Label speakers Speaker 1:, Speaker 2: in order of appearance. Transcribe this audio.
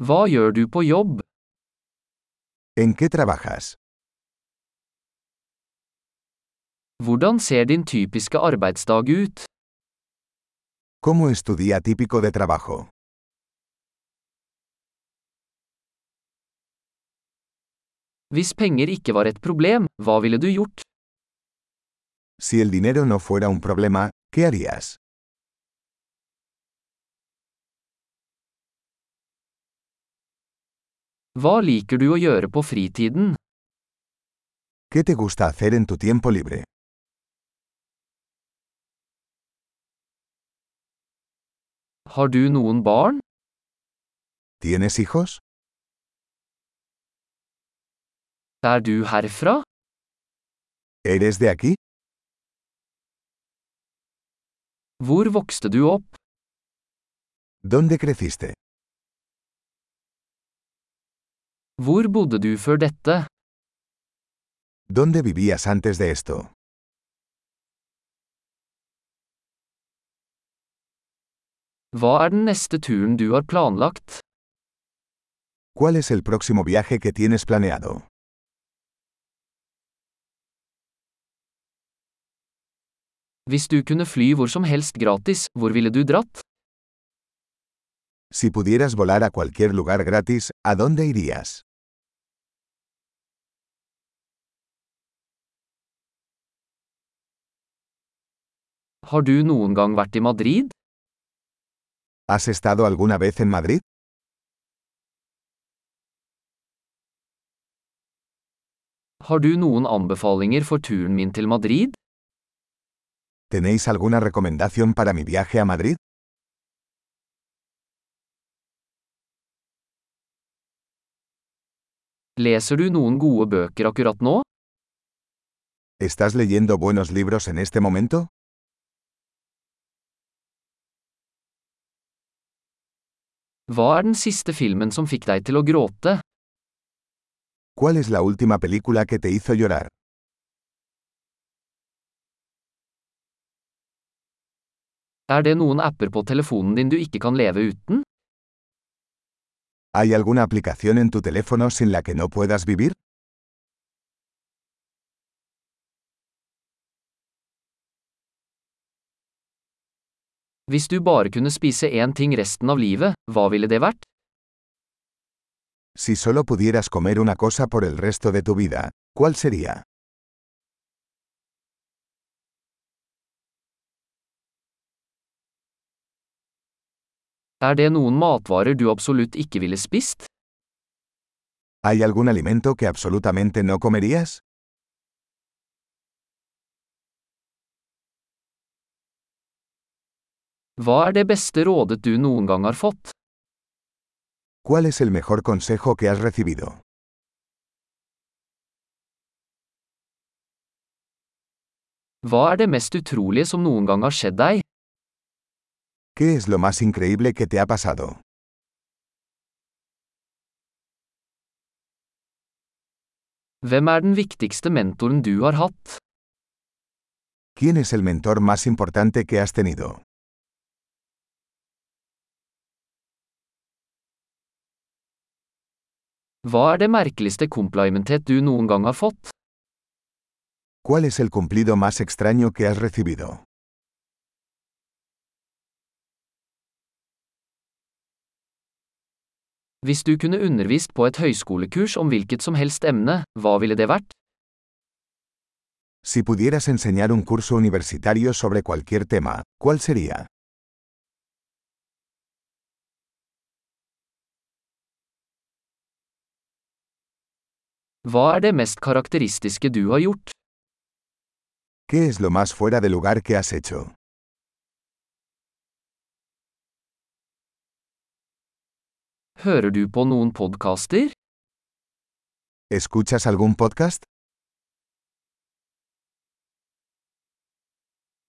Speaker 1: Hva gjør du på jobb?
Speaker 2: ¿En qué trabajas?
Speaker 1: Hvordan ser din typiske arbeidsdag ut?
Speaker 2: ¿Cómo es tu día típico de trabajo?
Speaker 1: Hvis penger ikke var et problem, hva ville du gjort?
Speaker 2: Si el dinero no fuera un problema, ¿qué harías?
Speaker 1: Hva liker du å gjøre på fritiden?
Speaker 2: ¿Qué te gusta hacer en tu tiempo libre?
Speaker 1: Har du noen barn?
Speaker 2: ¿Tienes hijos?
Speaker 1: Er du herfra?
Speaker 2: ¿Eres de aquí?
Speaker 1: Hvor vokste du opp?
Speaker 2: ¿Dónde creciste?
Speaker 1: Hvor bodde du før dette?
Speaker 2: ¿Dónde vivías antes de esto?
Speaker 1: Hva er den neste turen du har planlagt?
Speaker 2: ¿Cuál es el próximo viaje que tienes planeado?
Speaker 1: Hvis du kunne fly hvor som helst gratis, hvor ville du dratt?
Speaker 2: Si pudieras volar a cualquier lugar gratis, ¿a dónde irías?
Speaker 1: Har du noen gang vært i Madrid?
Speaker 2: ¿Has estado alguna vez en Madrid?
Speaker 1: Har du noen anbefalinger for turen min til Madrid?
Speaker 2: ¿Tenéis alguna recomendación para mi viaje a Madrid?
Speaker 1: Leser du noen gode bøker akkurat nå?
Speaker 2: ¿Estás leyendo buenos libros en este momento?
Speaker 1: Hva er den siste filmen som fikk deg til å gråte?
Speaker 2: ¿Cuál es la última película que te hizo llorar?
Speaker 1: Er det noen apper på telefonen din du ikke kan leve uten?
Speaker 2: ¿Hay alguna aplicación en tu teléfono sin la que no puedas vivir?
Speaker 1: Hvis du bare kunne spise én ting resten av livet, hva ville det vært?
Speaker 2: Si solo pudieras comer una cosa por el resto de tu vida, ¿cuál sería?
Speaker 1: Er det noen matvarer du absolutt ikke ville spist?
Speaker 2: ¿Hay algún alimento que absolutamente no comerías?
Speaker 1: Hva er det beste rådet du noen gang har fått?
Speaker 2: ¿Cuál es el mejor consejo que has recibido?
Speaker 1: Hva er det mest utrolige som noen gang har skjedd deg?
Speaker 2: ¿Qué es lo más increíble que te ha pasado?
Speaker 1: Hvem er den viktigste mentoren du har hatt?
Speaker 2: ¿Quién es el mentor más importante que has tenido?
Speaker 1: Hva er det merkeligste komplimentet du noen gang har fått?
Speaker 2: ¿Cuál es el cumplido más extraño que has recibido?
Speaker 1: Hvis du kunne undervist på et høyskolekurs om hvilket som helst emne, hva ville det vært?
Speaker 2: Si pudieras enseñar un curso universitario sobre cualquier tema, ¿cuál sería?
Speaker 1: Hva er det mest karakteristiske du har gjort?
Speaker 2: ¿Qué es lo más fuera de lugar que has hecho?
Speaker 1: Hører du på noen podkaster?
Speaker 2: ¿Escuchas algún podcast?